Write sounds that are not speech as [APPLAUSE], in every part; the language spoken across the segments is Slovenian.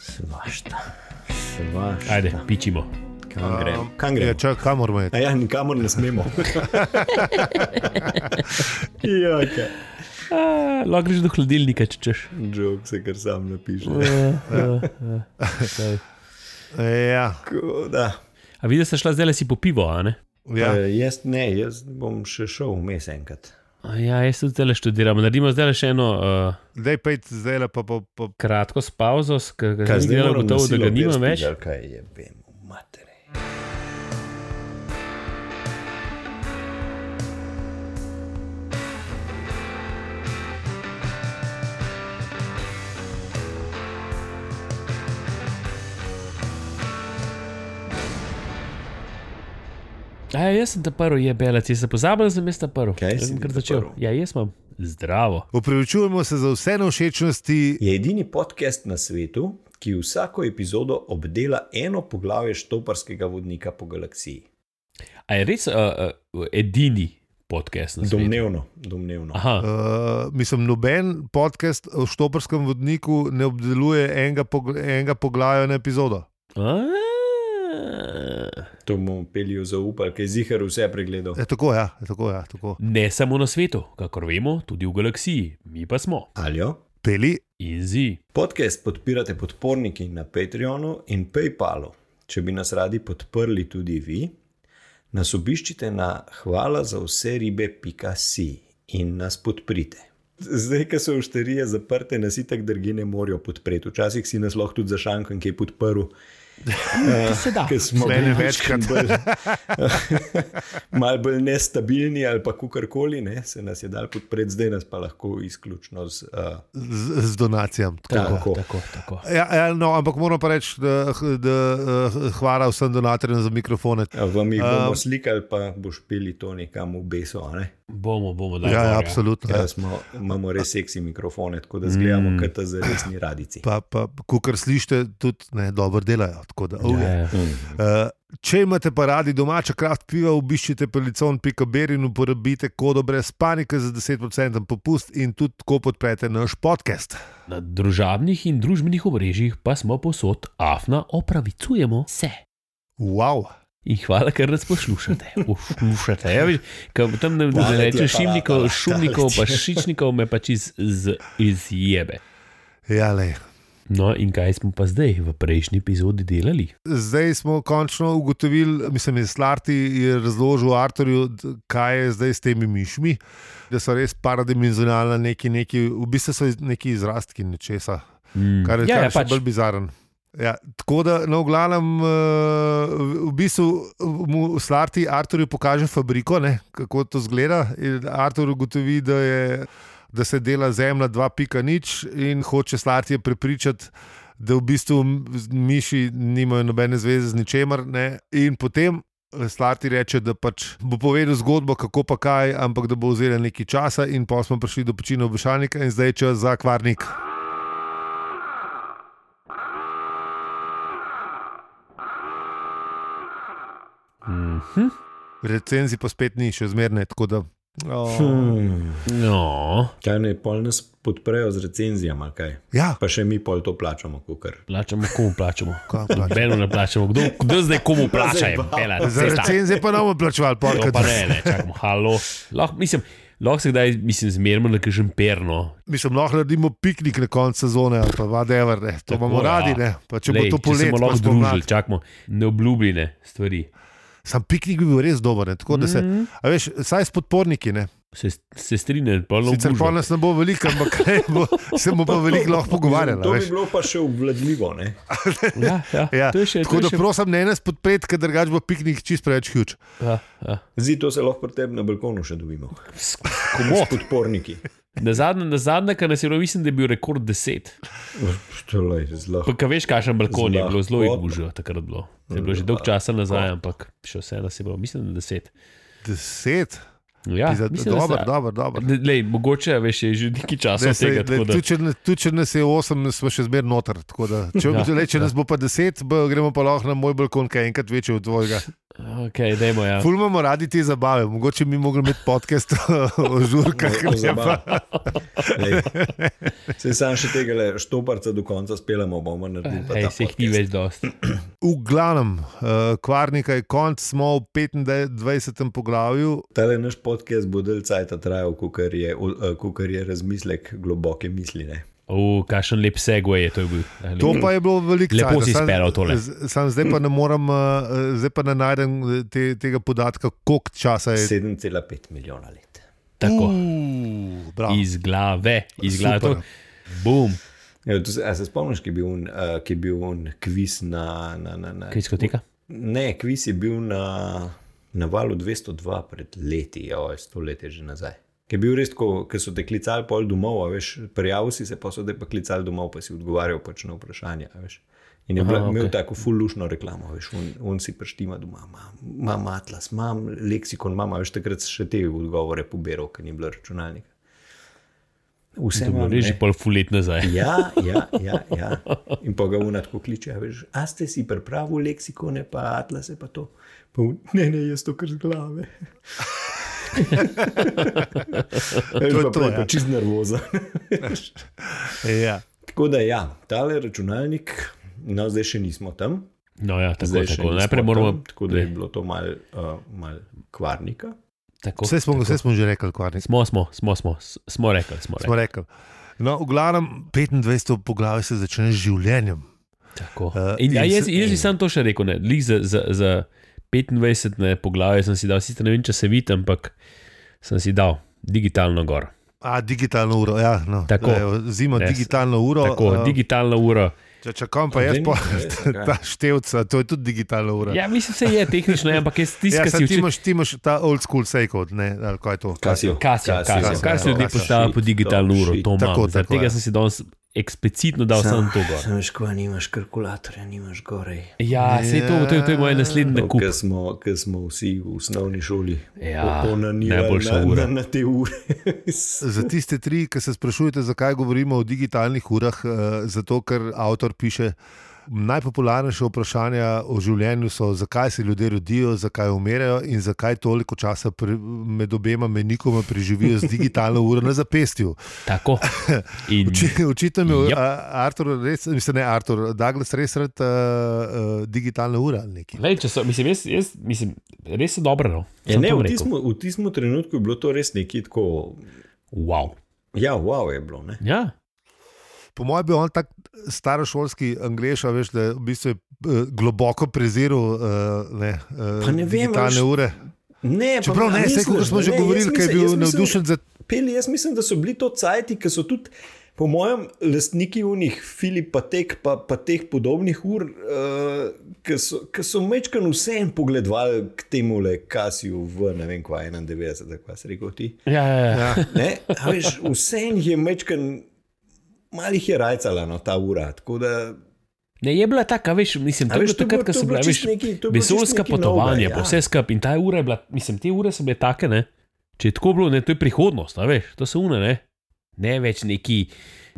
Svašta. Svašta. Ajde, pičimo. kam gremo? Kam Ja, gremo? čak, kamor me je? A ja, nikamor ne smemo. [LAUGHS] ja, okay. Eh, Lahko greš do hladilnika, če [LAUGHS] češ. Žog se kar sam napiše. Ja, Tako Da. A vidiš, da si šla zdaj le si po pivo, a ne? ja. E, jaz ne, jaz bom še šel vmes enkrat. A Ja, jaz tudi zdaj le študiram. Naredimo zdaj le še eno uh, Daj pejt zdaj le pa po. po kratko s pauzo, ker sem delal gotovo, da ga nimam več. Ja, kaj je, vem, matere. A, ja, jaz sem ta prvi jebelec, jaz sem pozabil, da sem jaz ta prvi. Kaj Jaz si sem ti kar ta začel. prvi? Ja, jaz imam zdravo. Upravičujemo se za vse neušečnosti, Je edini podcast na svetu, ki vsako epizodo obdela eno poglavje štoparskega vodnika po galaksiji. A je res uh, uh, edini podcast na svetu? Domnevno, domnevno. Aha, Uh, mislim, noben podcast v Štoprskem vodniku ne obdeluje enega, pogl enega poglavja na epizodo. A. To mu peljijo zaupali, ker je zihar vse pregledal. Je tako, ja, je tako, ja, tako. Ne samo na svetu, kakor vemo, tudi v galaksiji, mi pa smo. Alijo? Peli, In zi. Podcast podpirate podporniki na Patreonu in PayPalu. Če bi nas radi podprli tudi vi, nas obiščite na hvala za vse ribe.si in nas podprite. Zdaj, ko so ušterije zaprte, nas itak drgi ne morajo podpreti. Včasih si nas lahko tudi za šankom, ki je podprl. [LAUGHS] To se da. Ker smo Mene bili večkrat. malo bolj, mal bolj nestabilni ali pa kakorkoli, ne, se nas je dal podpreti, zdaj nas pa lahko izključno z uh, z, z donacijam. Tako. Ja. Tako, tako, tako. Ja, ja, no, ampak moram pa reči, da, h- da eh, hvala vsem donatorjem za mikrofone. Ja, Vam jih bomo Um, um, slikali, pa boš pili to nekam v beso. a Ne? Bomo, bomo dali. Ja, ja, gor, absolutno. Ja, Ja. smo, imamo res seksi mikrofone, tako da izgledamo mm. kot za resni radici. Pa, pa kar slišite, tudi ne, dobro delajo. tako Da, oh, Ja, yeah. ja. Uh, če imate pa radi domača kraft piva, obiščite pelicon.br in uporabite kodo brez panike za 10% popust in tudi tako podprete naš podcast. Na družabnih in družbenih omrežjih pa smo posod, afna opravicujemo se. Wow. In hvala, ker nas poslušate. Poslušate. Ja, viš, ko tam ne, ne Tale ti je rečeš pa šimnikov, ratala, šumnikov, tale pa ti je. šičnikov, me pač iz, iz, izjebe. Ja, lej. No, in kaj smo pa zdaj v prejšnji epizodi delali? Zdaj smo končno ugotovili, mislim, da Slarti je razložil Arturju, d- kaj je zdaj s temi mišmi, da so res paradimenzionalna neki, neki v bistvu so iz- neki izrastki nečesa, Mm. kar je ja, ja, ja, še pač. pač. bolj bizaren. Ja, tako da, no, v glavnem, eh, v- v bistvu mu Slarti Arturju pokaže fabriko, ne, kako to zgleda. in Artur ugotovi, da, je, da se dela zemlja 2.0 in hoče Slarti prepričati. Da v bistvu m- z- miši nimajo nobene zveze z ničemer. Ne? In potem eh, Slarti reče, da pač bo povedal zgodbo, kako pa kaj, ampak da bo vzela nekaj časa, in pa smo prišli do pečina obešalnika, in zdaj je čas za kvarnik. Mhm. Recenzi pa spet ni, še zmerne. Tako da. Oh. Hmm. No, Kaj ne, pol nas podprejo z recenzijami, ali kaj. Ja, Pa še mi pol to plačamo, kukar. plačamo, komu plačamo. Komu plačamo? [LAUGHS] Beno ne plačamo. Kdo, kdo zdaj komu plača? Je, bela, za cesta. recenzije pa ne bomo plačevali, To polkrat. pa ne, ne, čakamo, halo. Lahko, mislim, lahko se kdaj, mislim, zmerno na no. kažem perno. Mislim, lahko naredimo piknik na koncu sezone, ali pa vadever, ne. to Tako, bomo ja. radi. Ne. Pa, če Lej, Lej, bo to če se poletje, bomo pa lahko spomladi. družili, čakamo, neobljubljene stvari. Sam piknik bi bil res dober, ne. tako da se, Mhm. mm. veš, saj s podporniki. Ne. Se, se strinjam, polno Sicer pa obljubljeno. nas ne bo veliko, ampak [LAUGHS] ne, bo, se bomo pa veliko lahko pogovarjali. to veš. bi bilo pa še obvladljivo. ne. Ja, ja, [LAUGHS] Ja, ja. To je še, tako to je da še, prosim, ne nas podpreti, ker drugače bo piknik čist preveč huge. ja, ja. Zdi to se lahko pri tebi na balkonu še dobimo. S Komod. podporniki. Na zadnje, na zadnje, kar nas je bilo, mislim, da je bil rekord 10. Štolej, zelo. Pa, ka veš, kakšen balkon je bilo, zelo je Zlahkotno. gužo takrat bilo. Se je bilo že dolg časa nazaj, ampak še vse nas je bilo, mislim, da 10. Deset. Ja, Pizda- mislim, da Dobro, se- dobro, dobro. Ne, Lej, mogoče veš, je že nekaj časa Ne, od tega. sej, tako ne, da- tudi če ne- Tudi če nas je 8, smo še zmerno noter. tako da, Če, [LAUGHS] Ja, ja, le, ja. če ja. nas bo pa 10, bo, gremo pa lahko na moj balkon, ki je enkrat večji od tvojega. Okay, dejmo, ja. Ful imamo radi te zabave, mogoče bi mogli imeti podcast [LAUGHS] o žurkah. O ne pa- zabavi. Lej, Saj sam še tega le štoparca do konca spelamo, bomo naredili pa Hej, ta se jih ni podcast. več dosti. V glavnem, eh, kvarnika je konc, smo v 25. poglavju, Tale naš podcast bo del cajta trajal, kukar je, kukar je razmislek globoke misli. Ne? Uf, kakšen lep segway je to bil. Ali- To pa je bilo veliko Lepo cajta. si Samo- speljal tole. z- Sam zdaj pa ne morem, eh, eh, zdaj pa ne najdem eh, te, tega podatka, koliko časa je. 7,5 milijona let. Tako, Uuu, bravo. iz glave, iz glave. Super. to- Bum, Ja, to, se- a se spomniš, ki je bil, un, uh, ki je bil un kviz na. na, na, na kriskoteka. Ne, kviz je bil na, na valu 202 pred leti, oj, stoletje že nazaj. Ki je bil res tako, ker so te klicali pol domov, a veš, prijavil si se, pa so te pa klicali domov, pa si odgovarjal pač na vprašanja. a veš. In je Aha, bila, Aha, okej. imel okay. tako fullušno reklamo, veš, on, on si prštima doma, "Mam- imam atlas, imam leksikon, imam, a veš, takrat še te odgovore pobiral, ker ni bilo računalnika. Vse imam, Reži ne. pol fulet nazaj. Ja, ja, ja, ja. In pa ga unatko kliče, a veš, a ste si pripravili leksikone, pa atlase, pa to. Pa on, ne, ne, jaz to kar z glave. to je je to, to, pa, ja. ja. čist nervoza. Ja. Tako da ja, tale računalnik, no zdaj še nismo tam. No, ja, tako, Zdaj še tako. nismo Najprej moramo. Tam, tako da je bilo to mal, uh, mal kvarnika. Tako, Vse, smo, vse smo že rekli, kvarnik. Smo, smo, smo, smo, s- smo rekli. Smo Smo rekli. rekli. No, v glavnem 25. poglavje se začne z življenjem. Tako. Eh, In, ja, in jaz, se- jaz bi in- sam to še rekel, ne, glih za, za, za 25 ne, poglavje sem si dal, sicer ne vem, če se vidim, ampak sem si dal digitalno gor. A, digitalno uro, ja, no. Tako. Evo, zima, Ne, yes. digitalno uro. Tako, eh, digitalna ura. Če čakam, pa jaz Zdaj [LAUGHS] pa nisem res, zakaj? [LAUGHS] ta števca, to je tudi digitalna ura. Ja, mislim, se je tehnično, je, ampak jaz ja tiskam, saj ki ti si imaš, ti imaš ta old school sejkod, ne, ali kaj je to. Kasijo. Kasijo, kasijo, Casio, kar se ljudi Casio. postavlja pod digitalno uro, to imam. Tako, Zaradi tako, ja. tega sem si danes eksplicitno dal samo to gor. Sam veš, ko nimaš kalkulatorja, nimaš gorej. Ja, sej to, to, je, to je moj naslednji nakup. Ker smo, ker smo vsi v osnovni šoli Ja, ponanili najboljša na, ura. na, na te ure. Za tiste tri, ki se sprašujete, zakaj govorimo o digitalnih urah, eh, zato ker avtor piše. Najpopularnejše vprašanja o življenju so, zakaj se ljudje rodijo, zakaj umirajo in zakaj toliko časa pre, med obema menikoma preživijo z digitalno uro na zapestju. [LAUGHS] Tako. In Oči- Očitno mi je Yep. Artur, res, mislim, ne Artur, Douglas res rad uh, uh, digitalna ura ali nekaj. Lej, če so, mislim, jaz, jaz, mislim, res je dobro. No. Ja, Samo ne, to [LAUGHS] bom v rekel. tistem, v tistem trenutku je bilo to res nekje tako. Wow. Ja, wow je bilo. Ne? Ja, Po mojem, bi on tak eh, starošolski angliš, a veš, da v bistvu je eh, globoko preziral uh, ne, Pa uh, ne vem, digitalne veš, ure. Ne, pa- Čeprav a ne, vse, misliš, kot smo že ne, jaz govorili, ker je mislim- jaz bil mislim- navdušen za Peli, jaz mislim, da so bili to cajti, ki so tudi, po mojem, lastniki unih, Filipa Tek, pa, pa teh podobnih ur, uh, ki so, ki so mečkan vse en pogledovali k temu le Kasiju v, ne vem, kva 91, tako vas rekel ti. ja, ja. ja. Ne, a veš, vse en je mečkan, malih je rajcala no, ta ura, tako da Ne, je bila taka, veš, mislim, A to je veš, bilo to je bilo- takrat, to ko je sem bilo bila, čisto veš, nekaj- to je bilo čisto vesoljska nekaj potovanja, novega, pa ja. vse skupaj. In ta ura je bila, mislim, te ure so bile take, ne. Če je tako bilo, ne, to je prihodnost, a veš, to so une, ne. Ne več neki,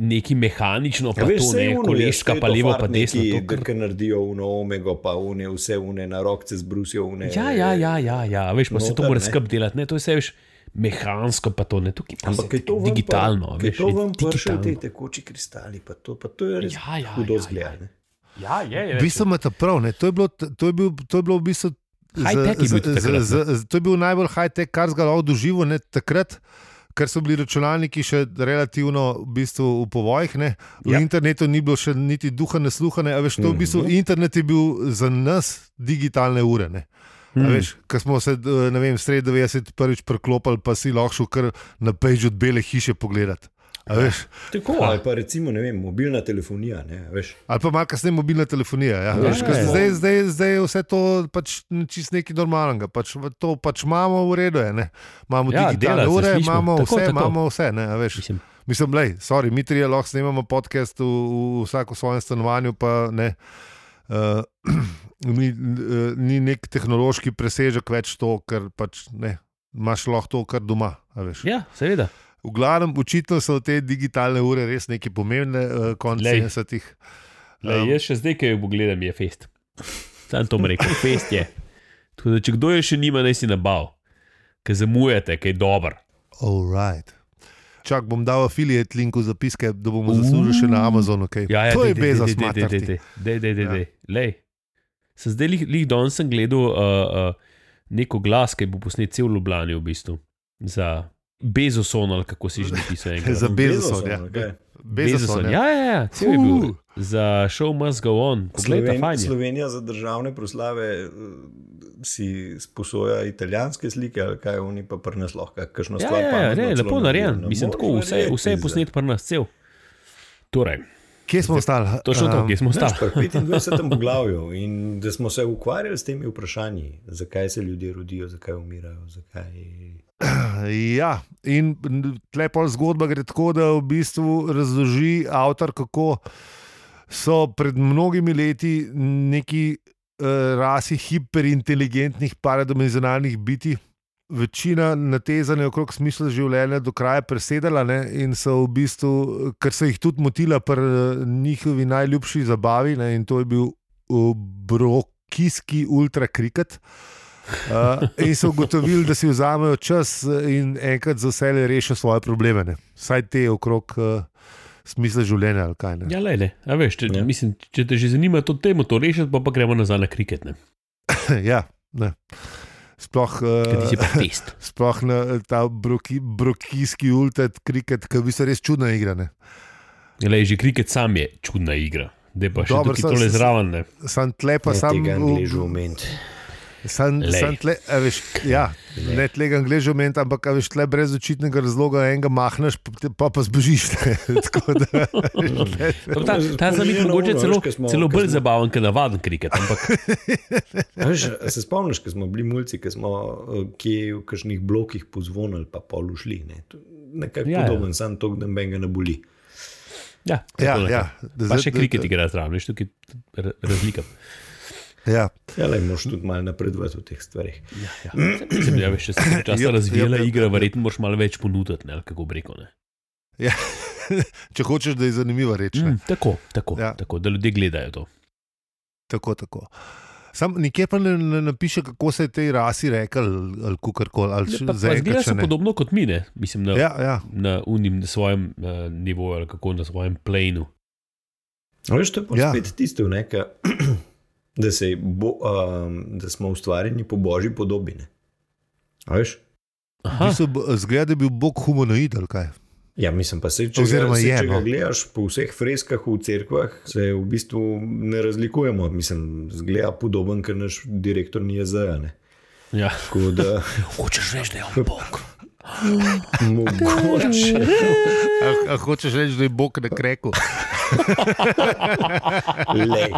neki mehanično, pa A Ja, veš, veš, to saj ne, ono je, koleška, saj pa to levo, fart pa desno. neki, To, kar... Ki naredijo uno omego, pa une, vse une na rokce zbrusijo. Une, Ja, ja, ja, ja, ja, veš, pa se to Noter, mora ne. skup delati, ne, to je vse, veš, mehansko, pa to ne, tukaj pa Ampak vse je to ven digitalno, pa, veš, veš, to vam pršajo te digitalno. tekoči kristali, pa to, pa to je res Ja, ja, hudo ja, zgled. ja. ne. Ja, je, V je. bistvu imate prav, ne? to je bilo, to je bil, to je bilo v bistvu. High-tech je bil z- takrat, ne? z- z- to je bil najbolj high-tech, kar zgal lahko doživel ne, takrat, ker so bili računalniki še relativno v, bistvu, v povojih. Ne. V Ja. internetu ni bilo še niti duha nesluhane. a Veš, to, v bistvu, Mhm. internet je bil za nas digitalne ure. Ne. Mhm. Mm. Veš, ko smo se eh, ne vem, sredi 90 prvič preklopili, pa si lahko šel kar na pejž od bele hiše pogledati. A Ja. Veš, Tako, ali pa recimo, ne vem, mobilna telefonija, ne, veš. Ali pa malo kasneje mobilna telefonija. Ja. Veš, ker ja. zdaj, zdaj, zdaj je vse to pač čist nekaj normalnega. Pač, v- to pač imamo v redu. Je, ne. imamo Ja, ja, digitalne dela se, ure, slišimo. imamo Tako, vse, tako. imamo vse. Ne, a veš. Mislim, Mislim, lej, sorry, mi trije lahko snemamo podcast v, v vsako svojem stanovanju, pa ne. Uh, [CLEARS THROAT] ni, eh, ni nek tehnološki presežek več to, kar pač ne. Imáš lahko to, kar doma. a veš. ja, seveda. V glavnem, očitno so te digitalne ure res nekaj pomembne, uh, konc Glej. 70-ih. Le, Um, jaz še zdaj, ki jo pogledam, je fest. Sam to bom rekel, fest je. Tu Tako da, če kdo je še nima, naj si nabav, ker zamujate, ker je dober. Alright. Čak bom dal afiliate link v zapiske, da bomo zaslužili še na Amazonu. Okay. Ja, ja, to je dej, dej, beza dej, dej, dej, dej, smatrti. dej, dej, dej, dej, Ja. dej. Lej. Sem zdaj lih, lih danes sem gledal uh, uh, neko glas, ki bo posnet cel Ljubljani v bistvu. Za Bezoson ali kako si že [LAUGHS] napisal. enkrat. Za Bezoson. Ja. Okay. Bezoson, ja. Ja, ja, ja cel je bil. Fuh. Za show must go on. Poglej, Sloven, fajn je. Slovenija za državne proslave eh, si sposoja italijanske slike, ali kaj oni pa pri nas lahko kakšno Ja, stvar. ja, ja, pametno ne, celo No, lepo naredijo. narejen. Ne Mislim, moreš tako, vse, verjeti, vse je za- posnet pri nas cel. Torej, Kje smo ostali? točno to, Um, kje smo Znaš, stali. pri [LAUGHS] 25. poglavju in da smo se ukvarjali s temi vprašanji, zakaj se ljudje rodijo, zakaj umirajo, zakaj. Ja, in tlepo zgodba gre tako, da v bistvu razloži avtor, kako so pred mnogimi leti neki eh, rasi hiperinteligentnih, paradimenzionalnih biti. Večina natezanja okrog smisla življenja do kraja presedala ne, in so v bistvu, ker so jih tudi motila pri eh, njihovi najljubši zabavi, ne, in to je bil eh, brokijski ultrakriket. Uh, in so ugotovili, da si vzamejo čas eh, in enkrat za vse rešijo svoje probleme. Ne. Vsaj te okrog uh, smisla življenja ali kaj. Ne. Ja, le, le. A veš, če, Ja. ja. Mislim, če te že zanima to temo, to rešiti, pa, pa gremo nazaj na kriketne. [LAUGHS] ja, ne. Sploh, Ker ti je Eh. uh, pa test. sploh na eh, ta broki, brokijski ultet, kriket, ki bi se res čudno igrane. Le, že kriket sam je čudna igra. Da pa še Dobro, Dobar, tukaj sem- tole zraven. [LAUGHS] ne. Sam tle pa Pa sam sam. tega angližu v- omeniti. Sam, Lej. sam tle, a veš, ja, ne tlega angliža omeniti, ampak a veš, tle brez očitnega razloga enega mahneš, pa te- pa, pa zbežiš. ne. [LAUGHS] Tako [LAUGHS] da, ne, Pa Ta, ta za Spominja njih na mogoče ono, celo, veš, ko smo- celo ko bolj smo- zabaven, kot navaden kriket. Ampak A Veš, a se spomniš, ko smo bili mulci, ko smo eh, kje v kakšnih blokih pozvonili, pa pol ušli. ne? To je Nekako Ja, ja. ja, podoben, ja. sam to, da me ga ne boli. ja, ja, tako ja, nekako. da Pa zdaj- še da- kriket igra zraven, veš, tukaj ra- razlika. Ja. Ja, le moš tudi malo napredovati v teh stvarih. Ja, ja. Mislim, da veš, če se je Jop, časa razvijala jop, jop, igra, jop. verjetno moraš malo več ponuditi, ne, ali kako bi rekel. ne. Ja. Če hočeš, da je zanimiva reč. Mm. Mm, tako, tako, Ja. ja. tako, da ljudje gledajo to. Tako, tako. Sam nikjer pa ne, ne napiše, kako se je tej rasi rekel, ali kukorkoli. Ali Ja, če- Pa, pa zaenkrat zgleda Pač še se ne. podobno kot mi, ne? mislim, na, ja. Ja, ja. na unim na svojem uh, nivoju ali kako na svojem plenu. A Veš, to je pa Ja. ja. spet tisto, ne, ka, [CLEARS THROAT] da, se bo, um, da smo ustvarjeni po božji podobi. ne. A Veš? V Aha, Bistvu, b- zgleda, da je bil Bog humanoid ali kaj. Ja, mislim pa, se, če, Oziroma Oziroma, se, je, če no. ga gledaš po vseh freskah v cerkvah, se v bistvu ne razlikujemo. Mislim, zgleda podoben, ker naš direktor ni jezel. ja. Tako da [LAUGHS] Hočeš reči, da je on Bog. mogoče. A, a Ah, hočeš reči, da je Bog na kreku? Lej.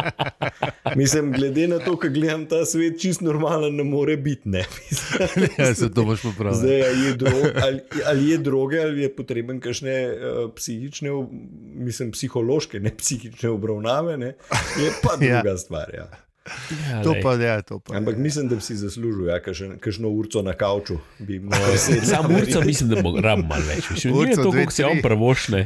Mislim, glede na to, kako gledam ta svet, čist normalen ne more biti. Ne? [LAUGHS] Mislim, [LAUGHS] Ja, se to boš popravil. Zdaj, ali, je drog, ali, ali je droge, ali je potreben kakšne uh, psihične, ob- mislim, psihološke, ne psihične obravnave, ne? je pa Ja. druga ja. stvar. Ja. Ja, To lej. pa je, to pa. Ampak je. mislim, da bi si zaslužil, ja, kakšen- kakšno urco na kavču bi moral [LAUGHS] sedeti. Sam urca mislim, da bo rabim malo več. Še ni Urco, to, dve, kako se on tri. prvošne.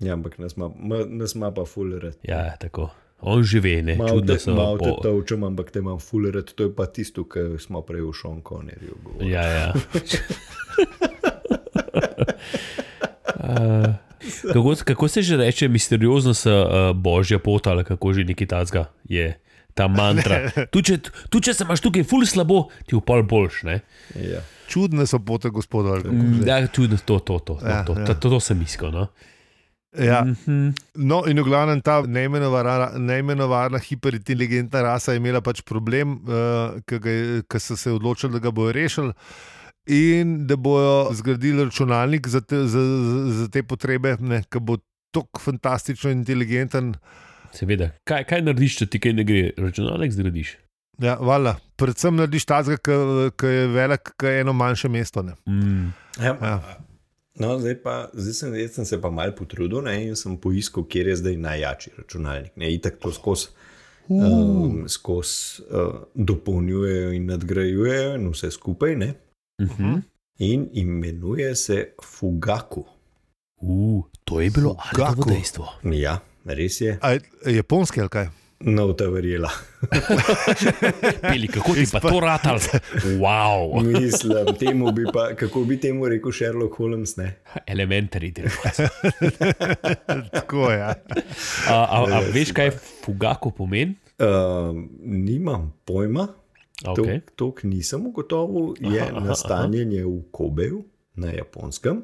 Ja, ampak nas ima- ma- nas ima pa fulerat. Ja, tako. On žive, ne, Malo čudno te, se mal te po... točem, ampak te imam fulerat, to je pa tisto, kar smo prej v Šonkonerju govorili. Ja, [LAUGHS] ja. Uh, kako, kako se že reče, misterioznost uh, božja pot ali kako že neki tacga je ta [LAUGHS] mantra. Tu če, tu, če se imaš tukaj ful slabo, ti v pol boljš. Ne? Ja. Čudne so pote gospoda. ali kako Mhm. že. Ja, čudno, to, to, to, to, Ja, to, ja. to, to, to sem iskal. No? Ja. Mhm. No, in v glavnem ta neimenovana, neimenovana hiperinteligentna rasa je imela pač problem, uh, ki so se odločili, da ga bojo rešili. In da bojo zgradili računalnik za te, za, za- za te potrebe, ne, ki bo tako fantastično inteligenten. Seveda, kaj, kaj narediš, če ti kaj ne gre, računalnik zgradiš. Ja, vala. Predvsem narediš tazga, ki je velik, ki je eno manjše mesto. Ne. Mm. Ja. Ja. No, zdaj, pa, zdaj, sem, zdaj sem se pa malo potrudil ne, in sem poiskal, kjer je zdaj najjačji računalnik. Ne, itak to skozi Hmm. um, skoz, uh, dopolnjujejo in nadgrajujejo, in vse skupaj. Ne. Mhm. In imenuje se Fugaku. Uh, to je bilo Kako? alkoholo dejstvo. Ja, res je. [LAUGHS] Ja. A je japonski ali kaj? Novta verjela. Peli, kako ti pa to ratal? Wow. Mislim, temu bi pa, kako bi temu rekel Sherlock Holmes, ne? Elementari delaš. Tako je. Ja. A, a, a veš, kaj fugako pomeni? Uh, nimam pojma, Okay. okay. to nisem ugotovil, je Aha, aha, aha, nastanjenje aha. v Kobeju na japonskem.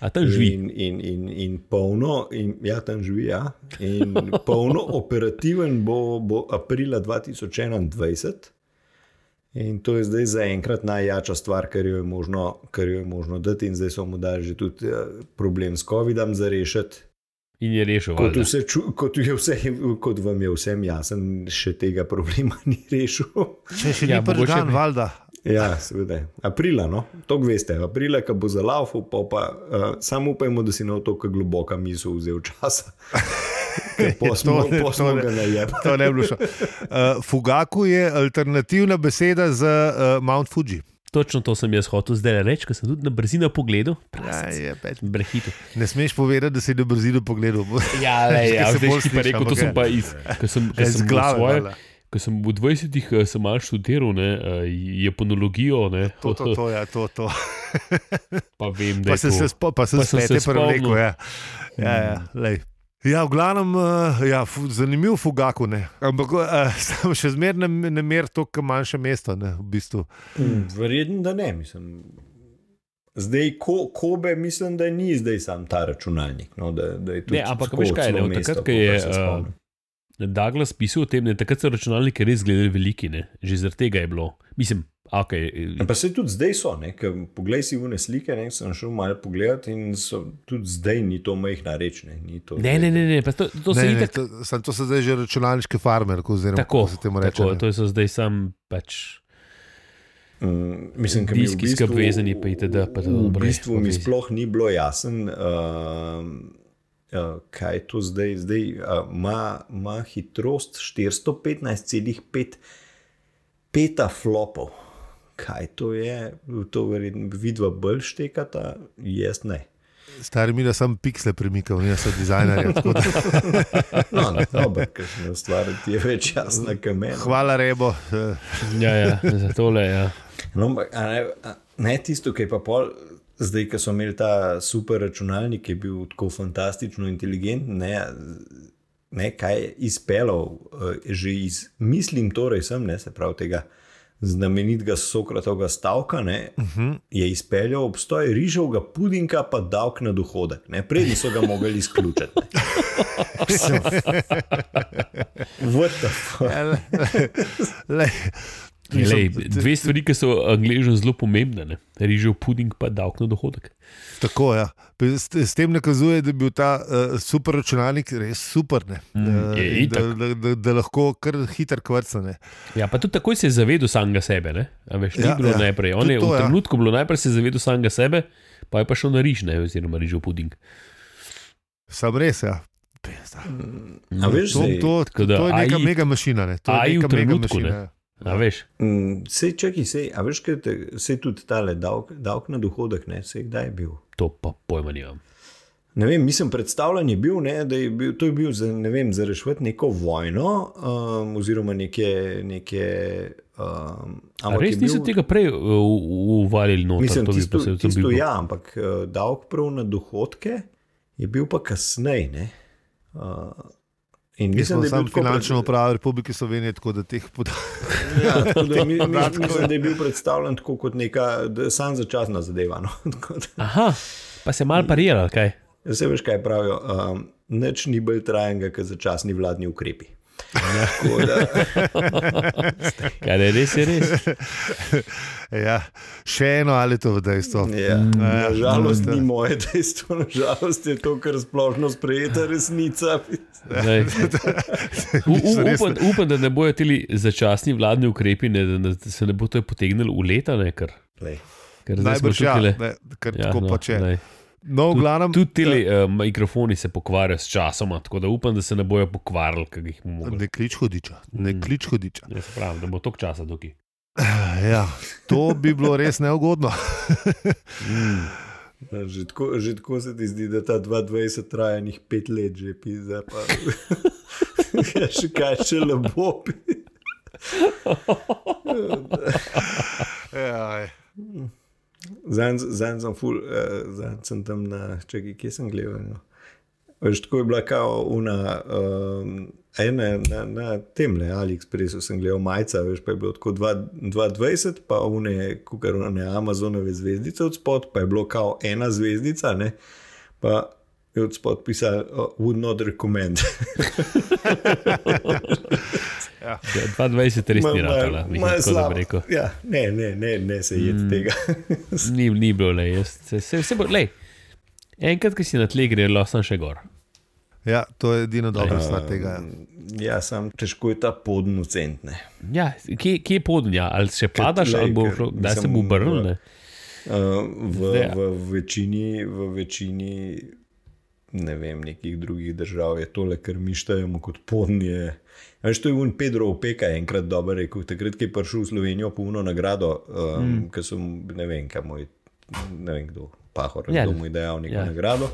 A tam živi. In, in, in, in polno, in, ja, tam živi, ja. In polno operativen bo, bo aprila 2021. In to je zdaj zaenkrat najjača stvar, kar jo je možno, kar jo je možno dati, in zdaj so mu dali že tudi eh, problem s COVID-om za rešiti. Mm. In je rešil. Kot, valjda. vse, ču- kot, je vse, kot vam je vsem jasno, še tega problema [LAUGHS] ni rešil. Če še Ja, ni mogoče prvi dan, bi. valjda. Ja, seveda. Aprila, no, to veste, aprila, ko bo za laufu, pa, pa uh, samo upajmo, da si na to, kako globoka misel vzel [LAUGHS] časa. To Posmo, ne- to posmo ne. ga najeba. To ne bi bilo šlo. Uh, Fugaku je alternativna beseda za uh, Mount Fuji. Točno to sem jaz hotel zdaj reči, ker sem tudi na brzino pogledal. Ja, Prasec. je, pet. Brehito. ne smeš povedati, da si na brzino [LAUGHS] pogledal. Ja, le, ja, Ker se zdaj bolj si pa slišam, rekel, to okej. sem pa iz, Ja. ker sem, ker Iz sem glave, glave, svoje, valjda. ker sem v 20-ih eh, sem malo študiral ne, eh, japonologijo, ne, To, to, to, ja, to, to. pa vem, da Pa je sem to. se spomnil, pa sem Pa sem se se spomnil. spomnil. Rekel, ja. Ja, ja, lej. ja, v glavnem, eh, ja, fu- zanimiv fugaku, ne. ampak eh, [LAUGHS] sam še zmeraj ne, ne mer to, kar manjše mesto. Ne, v bistvu. Mm, Verjetno, da ne, mislim. Zdaj, ko, kobe, mislim, da ni zdaj sam ta računalnik. No, da, da je tudi Ne, ampak tako veš kaj, celo ne, od takrat, mesto, ko je, kolikor se spomnim. eh, Douglas pisal o tem, ne, takrat so računalniki res gledali veliki, ne. že zaradi tega je bilo. Mislim, eh, okay, Ja, Pa se tudi zdaj so, ne, ker poglej si vune slike, ne, sem šel malo pogledat in so, tudi zdaj ni to majhna reč. Ne, ni to, ne, ne, ne, ne pa to, to se ne, ne, itak to, sam, to so zdaj že računalniški farmer, ko, oziroma Tako, kako se temu reče. tako ne. to so zdaj sam pač. Mm, mislim, da Diski so obvezani, pa itd., pa to V dobro je, bistvu mi obvezni. sploh ni bilo jasno, uh, uh, kaj je to zdaj. Zdaj uh, ima uh, hitrost 415,5 petaflopov. Kaj to je, to verjetno vidva bolj štekata, jaz ne. Stari mi, da sem piksle premikal, nisem sem dizajner. tako da- [LAUGHS] No, dobro, kakšna stvar ti je več jasna, kot meni. Hvala, rebo. eh, Ja, ja, za tole. Ja. No, ampak, a ne, a ne tisto, ki je pa pol, zdaj, ki so imeli ta super računalnik, ki je bil tako fantastično inteligenten, ne, ne kaj je izpeljal, eh, že iz, mislim, torej sem, ne se pravi tega. Znamenitega Sokratovega stavka ne, uh Mhm. -huh. je izpeljal obstoj rižovega pudinga, pa davek na dohodek. ne. Prednji so ga mogli izključiti. [LAUGHS] ne. Mislim, What the fuck? ja, le- [LAUGHS] lej. Mislim, Lej, t- dve stvari, ki so angližno zelo pomembne, ne? rižev puding pa davek na dohodek. Tako je. Ja. Pe- S, s tem nakazuje, da je bil ta uh, super računalnik res super. ne. Eh, Mm, je in da, itak. da, da, da lahko kar hitro kvrcane. Ja, pa tudi takoj se je zavedel samega sebe. Ne? A Veš, ni Ja, ja, bilo ja. ja. najprej. On Tudi je to, v ja. trenutku bilo najprej se je zavedel samega sebe, pa je pa šel na riž, ne? oziroma rižev puding. Sam res, ja. Pesta. A veš, To, zdaj- to, tako to, da to je neka AI mega mašina. Ne. To AI je v neka mega trenutku, mašina. ne. ja. A veš, Mm, Sej, čakaj, sej, a veš, kaj te, sej tudi tale davk, davk na dohodek, ne, sej kdaj je bil. to pa pojma nimam. Ne vem, mislim, predstavljen je bil, ne, da je bil, to je bil za, ne vem, za reševati neko vojno, um, oziroma neke. neke um, A Res je niso bil- tega prej eh, u- u- uvalili noter. Mislim, to bi tisto, pa se- to bi tisto bilo- ja, ampak uh, davek prav na dohodke je bil pa kasneje. Uh, in Mi mislim, smo da je bil samo tako finančno pred- upravo Republike Slovenije, tako da teh podatkov. [LAUGHS] Ja, tako da [LAUGHS] mi- mi- mislim, da je bil predstavljen tako kot neka da, sam začasna zadeva. No, [LAUGHS] tako da- Aha, pa se mal parirali, kaj? Vse veš, kaj pravijo. Um, Nič ni bolj trajenega, kot začasni vladni ukrepi. Tako da, Ja, ne, res je res. Ja. Še eno ali to dejstvo. ja, na žalost da. ni moje dejstvo, na žalost je to, kar splošno sprejeta resnica. Zdaj. U, Mislim, u, res upam, upam, da ne bojo ti začasni vladni ukrepi, ne, da ne- da se ne bo to potegnilo v leta. Ne, ker, Glej, ker zdaj smo Najbrž ja, tukajle- ne, ker ja, tako no, pač je. ne. No, v glavnem. Tudi ti uh, mikrofoni se pokvarjajo s časom, tako da upam, da se ne bojo pokvarjali, kaj jih bomo mogli. Ne klič hodiča, ne klič hodiča. Jaz pravim, da bo toliko časa tukaj. Ja, to bi bilo res neugodno. no, Že tako, [LAUGHS] že tako se ti zdi, da ta 22 traja njih pet let, že pisa. Pa... ja, še kaj, še lepo. Ja, Zanj sem, ful, eh, zadnjič sem tam na čegi, kje sem gledal. No? Veš, tako je bila kao una, um, ena na, na tem le AliExpressu sem gledal majca, veš, pa je bilo tako dva- 220, pa une, kukarone Amazonove zvezdice od spod, pa je bilo kao ena zvezdica, ne? pa je od spod pisal, uh, would not [LAUGHS] recommend. Ja, 22 res ni Ma- ma- ratala, ma je tako da slabo. bi rekel. Ja, ne, ne, ne, ne se jed mm. tega. [LAUGHS] Ni, ni bilo, le, jaz se, se, se bo, le. Enkrat, ki si na tle gre, lahko sem še gor. ja, to je edina dobra stvar tega. ja. ja, sam težko je ta podnocent, ne. Ja, kje, kje je podnja, ali se padaš, glej, ali bo ker šlo, da se mislim, bo obrnil. v- ne? Uh, v, Ja. v, večini, v večini ne vem, nekih drugih držav je tole, kar mi štejemo kot podnje. A Veš, to je un Pedro Opeka enkrat dobro rekel, takrat, ko je prišel v Slovenijo po uno nagrado, um, mm. ki so, mu- ne vem, kaj moj, ne vem kdo, pahor, Ja. ja. kdo mu je dejal neko Ja. ja. nagrado.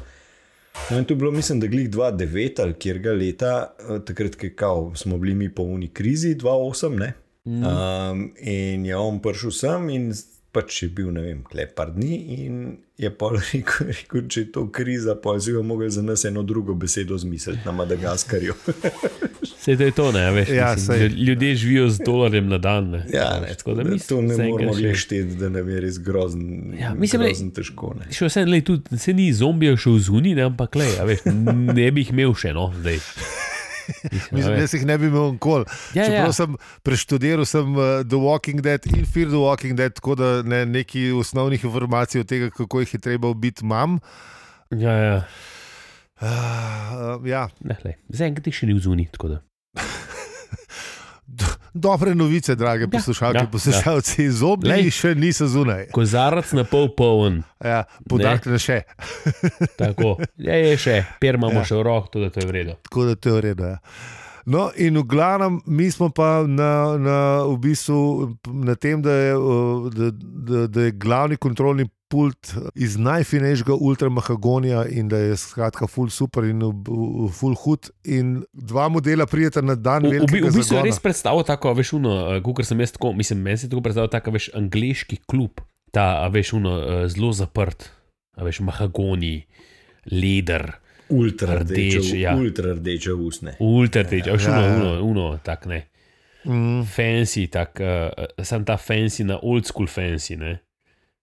No, in to je bilo, mislim, da glih 2009 ali kjer ga leta, eh, takrat, ko kao smo bili mi po uni krizi, 2008. Ne? Um, in je on prišel sem in z- pač je bil, ne vem, klepar dni. In je pa [LAUGHS] rekel, rekel, če je to kriza, pa si jo mogel za nas eno drugo besedo zmisliti na Madagaskarju. Saj to je to, ne veš. Ja, mislim, sej. ljud- ljudje živijo z dolarjem na dan. Ne, [LAUGHS] ja, ne, Veš, tako, da da mislim, to ne zaenkrat moremo še- glih šteti, da nam je res grozen, Ja, ja, mislim, da- grozen težko. Ne. Še vse, lej, tudi, se ni zombijo še v zuni, ne, ampak le, veš, ne bi jih imel še, no, zdaj. Mislim, a veš. jaz jih ne bi imel nikoli. Ja, Ja, Čeprav ja. ja. sem preštudiral sem, eh, The Walking Dead in Fear the Walking Dead, tako da ne, neki osnovnih informacij o tega, kako jih je treba ubiti, imam. Ja, ja. Uh, ja. Ne, lej, zaenkrat jih še ni v zuni, tako da. D- Dobre novice, drage poslušalke, ja, ja, poslušalci, ja. Glej. zobni še niso zunaj. Kozarac na pol poln, Ja, Podarek na še, tako. Ja, je še, per imamo Ja. še v rok, to da to je vredno. tako da to je v redu. Ja. No, in v glavnem, mi smo pa na, na, v bistvu na tem, da je, uh, da, da, da je glavni kontrolni pult iz najfinejšega ultramahagonija in da je skratka full super in ob- v- v- full hud. In dva modela prijeta na dan, V, v, bi- velikega v bistvu je zagona. res predstavo tako, a veš, uno, kot sem jaz tako, mislim, meni se je tako predstavlja, tako, a veš, angliški klub, ta, a veš, uno, eh, zelo zaprt, a veš, mahagoni, leder, Ultra Rdeč, rdeče, ja. ja. ultra rdeče usne. ultrteč, a veš, Ja, uno, ja. uno, uno tak ne. Mm. Fancy, tak, uh, sem ta fancy na old school fancy, ne.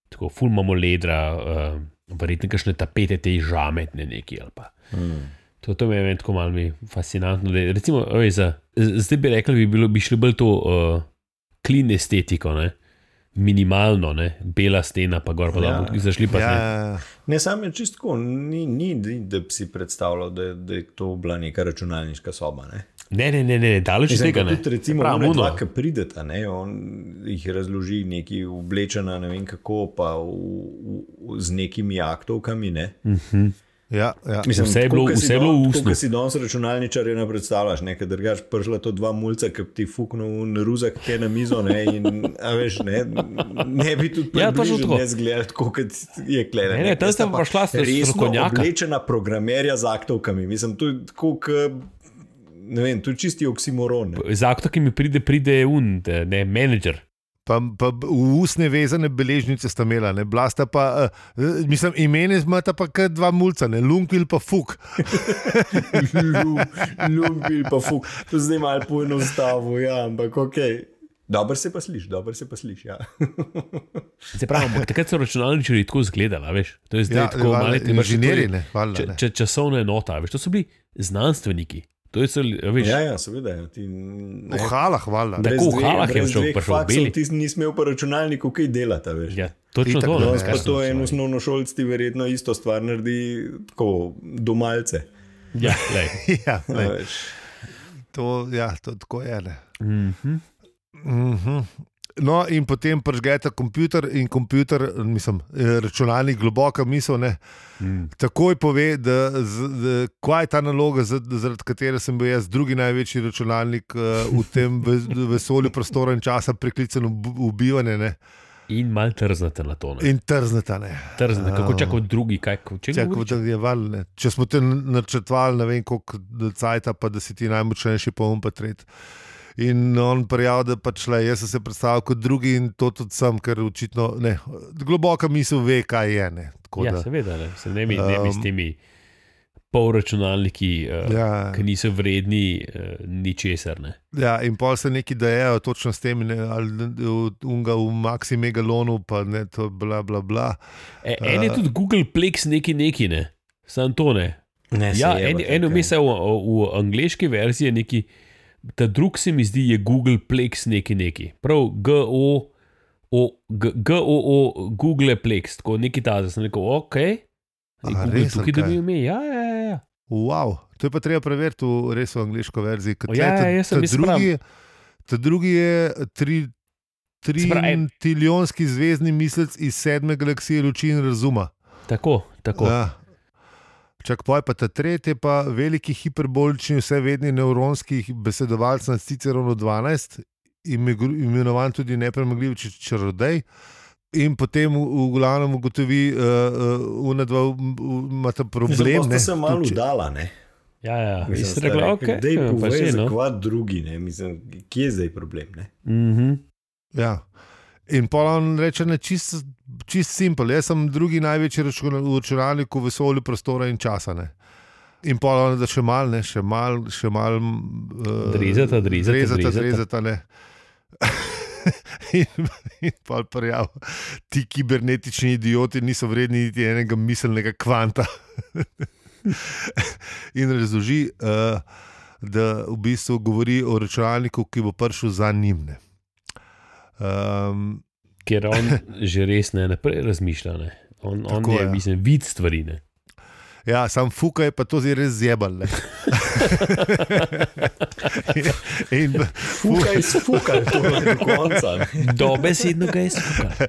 Tako, ful imamo ledra, uh, verjetno kakšne tapete te iz žametne neki ali pa. Mm. To, to me je meni tako malo mi fascinantno. Da, je- recimo, oj, za, z- zdaj bi rekli, bi, bilo, bi šli bolj to uh, klin estetiko, ne? minimalno, ne? bela stena, pa gor pa Ja. ja. zašli pa Ja, ja. ja, Ne, sam je čistko, ni, ni ni, da bi si predstavljal, da, je- da je to bila neka računalniška soba. Ne? ne. Ne, ne, ne, ne, daleč od Mislim, tega. pa ne. Tudi, recimo, Pravim, Pravno, ono. dva, ki prideta, ne, on jih razloži neki oblečena, ne vem kako, pa v, v, z nekimi aktovkami. Ne. ja, ja. Mislim, Vse je tako, bilo- ke si vse je don- bilo v tako, usnju. ke si danes računalničarje ne predstavljaš, nekaj drugač, prišla to dva mulca, ki bi ti fuknil na ruzak, ki je na mizo. Ne, in, a veš, ne, ne bi tudi ja, Ja, približno točno tako. ne zgledal tako, kot je klede. Ne, ne, tam sta pa šla s- no, strokovnjaka. Oblečena programerja z aktovkami. Mislim, to je tako, ke, ne vem, to je čisti oksimoron. Ne. [LAUGHS] Zakon, ki mi pride, pride je un, da- ne, menedžer. Pa, pa b- v usne vezane beležnice sta imela, ne blasta pa, uh, mislim, imeni imata pa kar dva mulca, ne lunkil pa fuk. Ljubim pa fuk, to zdaj malo poenostavljam, ja, ampak ok. Dobro se pa sliši, dobro se pa sliši. Ja. Se pravi, [LAUGHS] ampak takrat so računalničari tako izgledali, a veš. To je zdaj Ja, tako valjda, malo inženirji, ne, valjda, Če, ne. če, časovna enota, a veš, to so bili znanstveniki. To so, a veš, ja, ja, seveda. ja, Ti, ne, V halah, valjda. Da. ne. Tako v halah je šel, prišel v beli. Ti nisi imel pa računalniku, kaj delata. Veš. ja, točno Itak, to. ne, ne, Danes kaj pa so to en računalniki. osnovnošolc ti verjetno isto stvar naredi, tako domalce. Ja, lej. [LAUGHS] Ja, a ne, veš. to, ja, to tako je. Ne. Mhm. Mhm. No, in potem pržgete komputer, in komputer, mislim, eh, računalnik, globoka misel, ne, Mm. takoj pove, da, z, da, kaj je ta naloga, za- zaradi katere sem bil jaz drugi največji računalnik eh, v tem ve- vesolju prostora in časa, preklican v b- v bivanje. Ne. In malo trznete na to. ne. In trzneta ne. Trznete, kako Ja. čaka drugi, kaj če Čak, govoriš? je valne. Če smo te načrtovali, ne vem koliko cajt, pa da si ti najmočnejši, pa um pa tret. In on prijavil, da pač le, jaz sem se predstavljal kot drugi in to tudi sem, ker očitno ne, globoka misel ve, kaj je. Ne, Tako Ja, da- seveda, ne, se ne bi, ne bi s Um, temi polračunalniki, uh, ja. ja, ki niso vredni uh, ničesar. Ne. ja, in pol se neki dejajo točno s tem, ne, ali v- unga v Maxi Megalonu, pa ne to, bla, bla, bla. E, en je Eh. tudi Google Plex neki neki, ne. Sam to ne. Ne, se Ja, jebate, en, eno kaj. misel v, v angliški verziji je neki, ta drug se mi zdi je Google Plex neki neki. Prav GO, o- G- GOO, Google Plex, tako neki ta, da sem rekel, ok. Aha, Aha, Google res, ali tukaj dobi kaj? ime, ja, ja, ja, ja. Wow, to je pa treba preveriti v res v angliško verzijo. ker O, tle ja, ta- ja, jaz sem ta mislil drugi, ta drugi je tri. Se pravi, en- Triljonski zvezdni mislec iz sedme galaksije luči in razuma. Tako, tako. Ja. Čak poj pa ta tretji, pa veliki hiperbolični, vsevedni nevronski besedovalec na Cicerono 12, imigru- imenovan tudi nepremagljiv č- čarodej. In potem v, v glavnem ugotovi, da uh, uh, dva imata Mislim, problem. Zato ne, sem malo tudi če- udala, ne. Ja, ja. Mislim, Mislim, sta rekla, rekli, okay, Dej ja, pa povej, že, no. zakaj drugi, ne. Mislim, kje je zdaj problem, ne. Mhm. Ja. In pa on reče, da je čist, čist simpel. Jaz sem drugi največji računa- računalnik v vesolju prostora in časa. Ne. In pa on da še mal, ne, še mal, še mal. Uh, Drezata, drezata, drezata, drezata. drezata ne. [LAUGHS] in in pa je prav, ti kibernetični idioti niso vredni niti enega miselnega kvanta. [LAUGHS] in razloži, uh, da v bistvu govori o računalniku, ki bo prišel za njim. Ne. Um, Ker [LAUGHS] on že res ne naprej razmišlja. Ne. On, on Tako, je, ja. ja. mislim, vid stvari. Ne. ja, sam fuka je pa to zdaj res zjebal. [LAUGHS] ne. in, [LAUGHS] Fukaj, fukaj, to je do konca. ne. Dobesedno ga je skupaj. [LAUGHS] uh,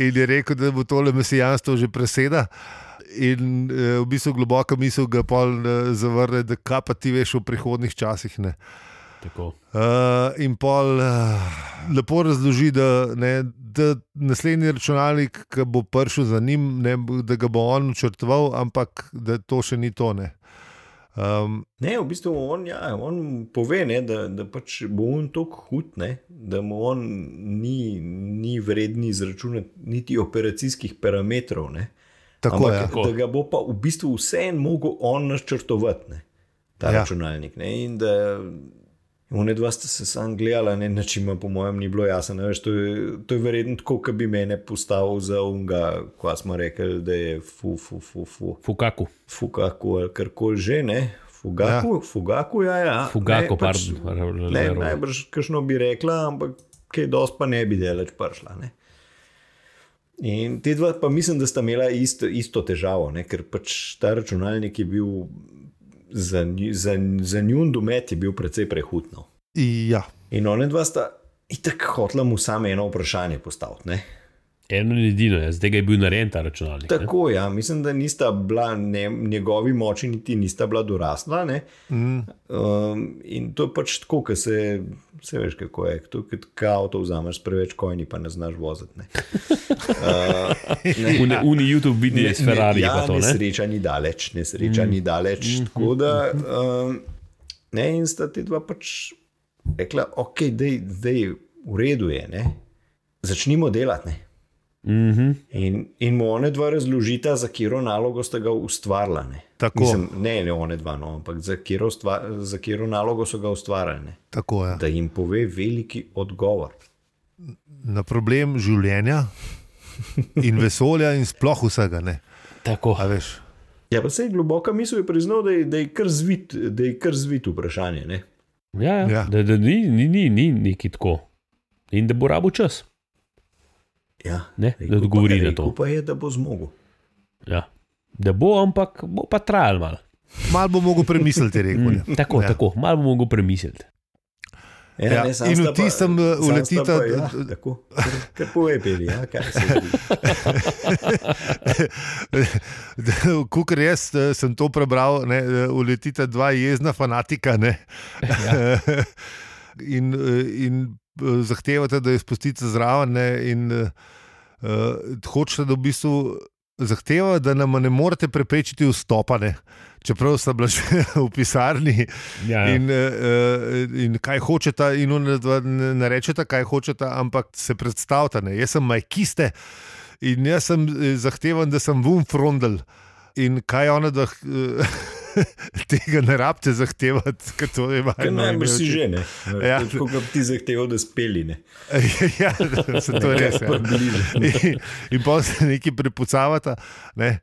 in je rekel, da bo tole mesijanstvo že preseda. In uh, v bistvu globoka misel ga pol uh, zavrne, da kaj pa ti veš v prihodnih časih. Ne. Tako. Uh, in pol uh, lepo razloži, da, ne, da naslednji računalnik, ki bo prišel za njim, ne, bo- da ga bo on črtoval, ampak da to še ni tone. Um, [LAUGHS] Ne, v bistvu on, ja, on pove, ne, da, da pač bo on tako hud, ne, da mu on ni, ni vreden izračunati niti operacijskih parametrov. Ne. tako je. Ampak, da ga bo pa v bistvu vseeno mogel on načrtovati, ne, ta Ja. ja. računalnik. Ne, in da one dva sta se sam gledala, ne, načima, po mojem, ni bilo jasno. ne, Veš, to, je, to je verjetno tako, kot bi mene postavil za unga, ko smo rekli, da je fu, fu, fu, fu. Fukaku, Fugaku ali kar koli že, ne. Fugaku, ja. Fugaku, ja, ja. Fugaku, ne, pač, pardon, ra- ra- Ne, ra- najbrž kakšno bi rekla, ampak kaj dosti pa ne bi delač prišla. Ne. In te dva pa mislim, da sta imela isto, isto težavo, ne, ker pač ta računalnik je bil za, nju- za, za njun domet je bil precej prehutno. Ja, In one dva sta itak hotla mu samo eno vprašanje postaviti. Ne. eno in edino je, zdaj ga je bil narejen ta računalnik. ne. Tako, ja, mislim, da nista bila ne, njegovi moči, niti nista bila dorasla. Ne. mm, Um, in to je pač tako, ker se, se veš, kako je. To je kot ka avto vzameš s preveč kojni, pa ne znaš voziti. Ne. Uh, ne. [LAUGHS] Uni, uni YouTube vidi iz Ferrari. Ne, ja, to, ne? nesreča ni daleč, nesreča mm. ni daleč. Mm. Tako da, um, ne, in sta ti dva pač rekla, ok, zdaj v redu je, ne. začnimo delati. Ne. Mhm. In, in mu one dva razložita, za katero nalogo sta ga ustvarila. Ne, Tako. Mislim, ne, ne one dva, no, ampak za katero, stva, za katero nalogo so ga ustvarjali. Ne? tako ja. je. Da jim pove veliki odgovor. Na problem življenja in vesolja, in sploh vsega. Ne. Tako. A veš, Ja, pa se je globoka misel je priznal, da je, da je kar zvit, da je kar zvit vprašanje. Ne? Ja, ja. Ja. Da, da ni, ni, ni, ni neki tako. In da bo rabo čas. Ja, Ne, rekel da odgovori pa, na rekel to. Pa je, da bo zmogel. Ja. Da bo, ampak bo pa trajal malo. mal bo mogel premisliti, je rekel. Mm, [LAUGHS] ne. tako, Ja. ja. tako, malo bom mogel premisliti. Ja, Ja, ne, sam in sta v pa- tistem, eh, sam sta uletita- pa, Ja, tako, kar, kar pove, peli, ja, kaj se [LAUGHS] zgodi. Kukor jaz eh, sem to prebral, ne, eh, [LAUGHS] uletita dva jezna fanatika. Ne. in, eh, in zahtevate, da je spustite zraven ne, in uh, hočete, da v bistvu zahteva, da nam ne morete preprečiti vstopa. Ne. Čeprav sta bila že [LAUGHS] v pisarni Ja, ja. in, uh, in kaj hočete, in ona dva ne ne rečete, kaj hočete, ampak se predstavljate. ne. Jaz sem majkiste in jaz sem eh, zahtevam, da sem vum frondel. In kaj ona, da [LAUGHS] tega ne rabite zahtevati, ker to je Ker majhno. najbrž si že ne. Ja. Ja. Tako kot ti zahteval, da speli ne. [LAUGHS] ja, se to je [LAUGHS] res. Ja. In, in pol se neki prepucavata. Ne?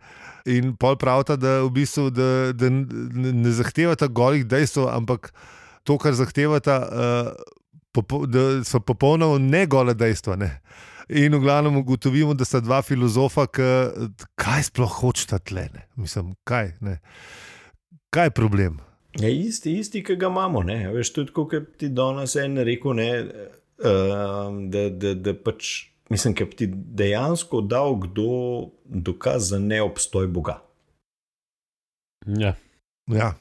In pol pravita, da, v bistvu, da, da ne ne zahtevata golih dejstev, ampak to, kar zahtevata, uh, popo, da so popolnoma ne gole dejstva. Ne? In v glavnem ugotovimo, da sta dva filozofa, ki kaj sploh hočeta tlene. Mislim, kaj, ne? kaj je problem? Ja, isti, isti, ki ga imamo. Ne. Veš, tudi kot je ti danes en rekel, ne, um, da, da, da pač, mislim, da bi ti dejansko dal kdo dokaz za neobstoj Boga. ja. Ja,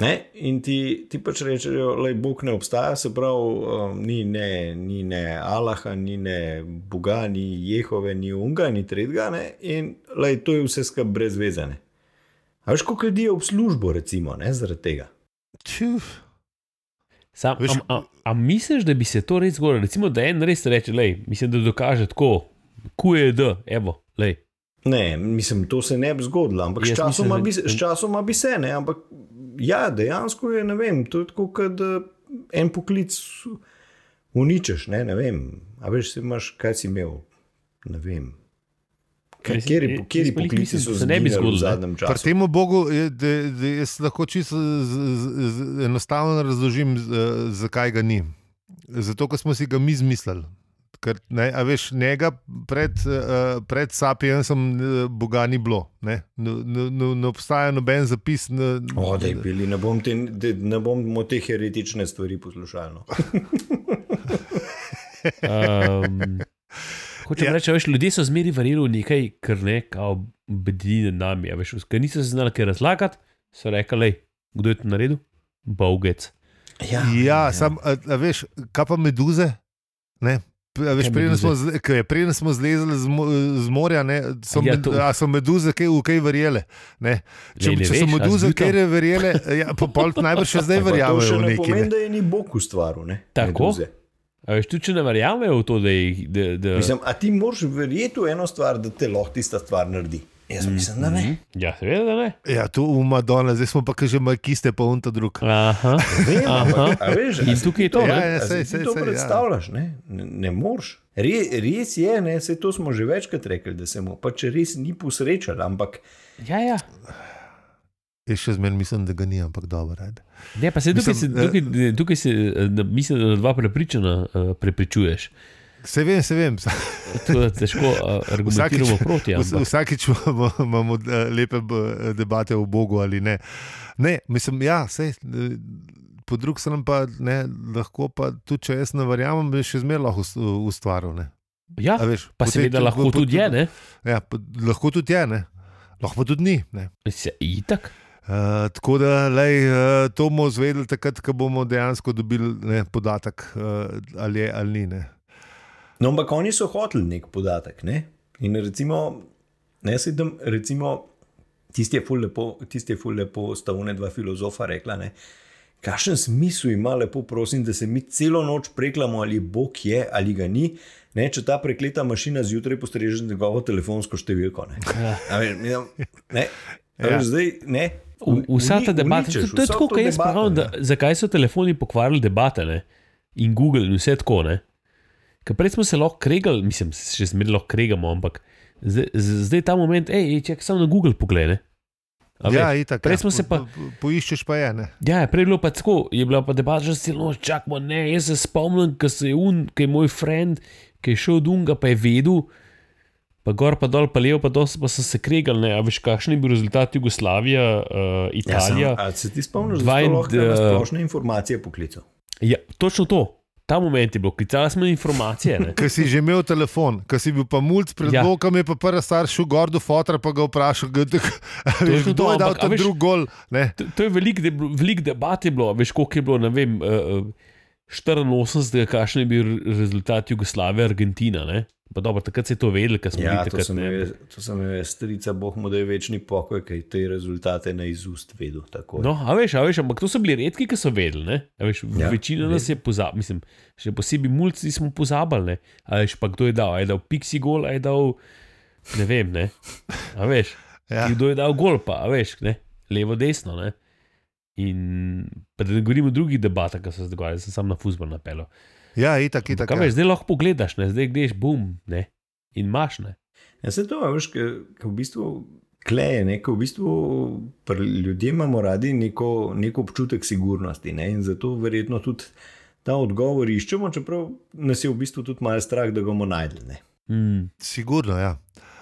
Ne? In ti, ti pač rečejo, da Bog ne obstaja, se pravi, um, ni, ne, ni ne Allaha, ni ne Boga, ni Jehove, ni Unga, ni Tredga. Ne? In lej, to je vse skupaj brezvezane. A veš, koliko ljudi je ob službo, recimo, ne, zaradi tega. Čuf. Sam, am, Veš- am, am misliš, da bi se to res zgodilo? Recimo, da en res reče, lej, mislim, da dokaže tako, QED, evo, lej. Ne, mislim, to se ne bi zgodilo, ampak Jaz sčasoma mislim, bi, da- se- sčasoma bi se, ne, ampak ja, dejansko je, ne vem, to je tako, kot da en poklic uničiš, ne, ne vem, a veš, se imaš, kaj si imel, ne vem. Kaj- Mislim, Kateri, jaz- kateri jaz pa glih poklici mislim, so da se ne bi zgodili v ne. zadnjem Pri času? tem Bogu je, da, da jaz lahko čisto z, z, z, enostavno razložim, z, zakaj ga ni. Zato, ker smo si ga mi izmislili. Ker, ne, a veš, njega pred, eh, pred Sapiensom eh, Boga ni bilo. Ne, No, ne, ne, ne- ne obstaja noben zapis. Ne, O, daj, bili, ne, bom te, de, ne bomo te heretične stvari poslušali. No. Um, hočem Ja. ja. reči, a veš, ljudje so zmeri verjeli v nekaj, kar ne, kao bedi nad nami. a Veš, ker niso se znali kaj razlagati, so rekli, lej, kdo je to naredil? Bogec. Ja, Ja, sam, a, a veš, kaj pa meduze? Ne? P- a Veš, Kaj preden meduze? smo, zle- ko je- preden smo zlezli z, mo, z morja, ne, so, Ja, med, to- a so meduze kaj, v kaj verjele. Ne? Če, Lej, ne če so veš, a meduze zbil tam? kaj verjele, ja, pa pol najbrž še zdaj Pa to še verjamejo v ne nekaj. pomeni, Ne? da je ni Bog ustvaril. Ne, Tako? meduze. A veš, tudi če ne verjamejo v to, da jih. Da, da... Mislim, a ti moraš verjeti v eno stvar, da te lahko tista stvar naredi. Jaz mislim, da ne. Ja, seveda da ne. Ja, tu umadona, zdaj smo pa ke že makiste, pa unta drug. [LAUGHS] Aha. Vem, ampak, a Aha. veš, a In si tukaj je to, Ja, ne? ja, A si sej, ti sej, to sej, ja. predstavljaš, ne, ne, ne moreš. Re, res je, ne, se to smo že večkrat rekli, da se mu pač res ni posrečal, ampak ja, ja. Jaz še zmeraj mislim, da ga ni, ampak dobro. ajde. Ne, pa se tukaj, mislim, Mislim, se, tukaj, ne, tukaj se, eh, na- mislim, da na dva prepričana eh, prepričuješ. Se vem, se vem. Tako da težko eh, argumentiramo proti. Vs- Ja, ampak- Vsakič [LAUGHS] imamo, imamo eh, lepe b- debate o Bogu ali ne. Ne, mislim, ja, sej. Po drugi strani pa ne, lahko pa tudi, če jaz ne verjamem, bi še zmeraj lahko ust- eh, ustvaril. ne. Ja, A veš, pa potem seveda lahko po- tudi je, ne? Ja, pa, lahko tudi je, ne. lahko pa tudi ni. Ne. Se, itak. Uh, tako da lej, uh, to bomo izvedeli takrat, ko bomo dejansko dobili ne, podatek, uh, ali je ali ni. Ne. No, ampak oni so hoteli nek podatek. Ne? In recimo, ne sedem, recimo, tisti je ful lepo, tisti je ful lepo, sta une dva filozofa rekla. Ne? Kakšen smisel ima, lepo prosim, da se mi celo noč preklamo, ali Bog je ali ga ni. Ne, če ta prekleta mašina zjutraj postreže z njegovo telefonsko številko. Ne, A veš, mislim, ne, a Ja. veš, zdaj, ne. V- Vsa ta Uni- debata, uničiš to, to je vso tako, to kot jaz debato, pravim, ne. da, zakaj so telefoni pokvarili debate ne? in Google in vse tako. Ne? Ker prej smo se lahko kregali, mislim, se še zmeraj lahko kregamo, ampak zdaj, z- zdaj je ta moment, hej, če samo na Google pogledaj. ne." A Ja, veš, itak, prej ja, smo se pa- po- po- Poiščeš pa je. Ne. Ja, prej je bilo pa tako, je bila pa debata že zelo čakmo. Ne, jaz se spomnim, ko se je un, ki je moj friend, ki je šel od unga, pa je vedel, pa gor, pa dol, pa levo, pa dol, pa so se kregali. Ne, a veš, kakšen je bil rezultat Jugoslavije, Ja, uh, sam, Italije. a se ti spomniš, da Dva je in- to lahko na eh, splošne informacije poklical? Ja, točno to. Ta moment je bil, klicali smo informacije. [LAUGHS] ne. Ker si že imel telefon, ker si bil pa mulj pred ja. Ja. blokom, je pa prvi star šel gor do fotra, pa ga vprašal, kdo, veš, to, kdo je dal ampak, a ta veš- drugi gol. Ne? To, to je veliko de, velik debat, je bilo, veš, koliko je bilo, ne vem, uh, 84, kakšen je bil rezultat Jugoslavije, Argentina. ne. Pa Dobro, takrat se je to vedelo, ker smo Ja, bili to takrat sem ne. imel, to sem imel jaz, strica, boh mu da je večni pokoj, ki je te rezultate na izust vedel. takoj. No, a veš, a veš, ampak to so bili redki, ki so vedeli. ne. A Veš, ja, Ja, večina nas je pozabila, mislim, še posebej mulci smo pozabili. ne. A veš, pa kdo je dal, a je dal Pixi gol, a je dal ne vem, ne. A veš, ja. Ja. kdo je dal gol, pa a veš, ne. levo, desno. Ne. In pa da ne govorimo o drugih debatah, ki so se dogajale, jaz sem sam na fusbol napeljal. Ja, itak, itak. Kaj Ja. veš, zdaj lahko pogledaš, ne? zdaj greš, bum, ne? in imaš ne. Ja, se to, veš, ki v bistvu kleje, ne, ke v bistvu pri ljudje imamo radi neko, neko občutek sigurnosti ne, in zato verjetno tudi ta odgovor iščemo, čeprav nas je v bistvu tudi malo strah, da ga bomo najdli. ne. Mm. Sigurno, ja.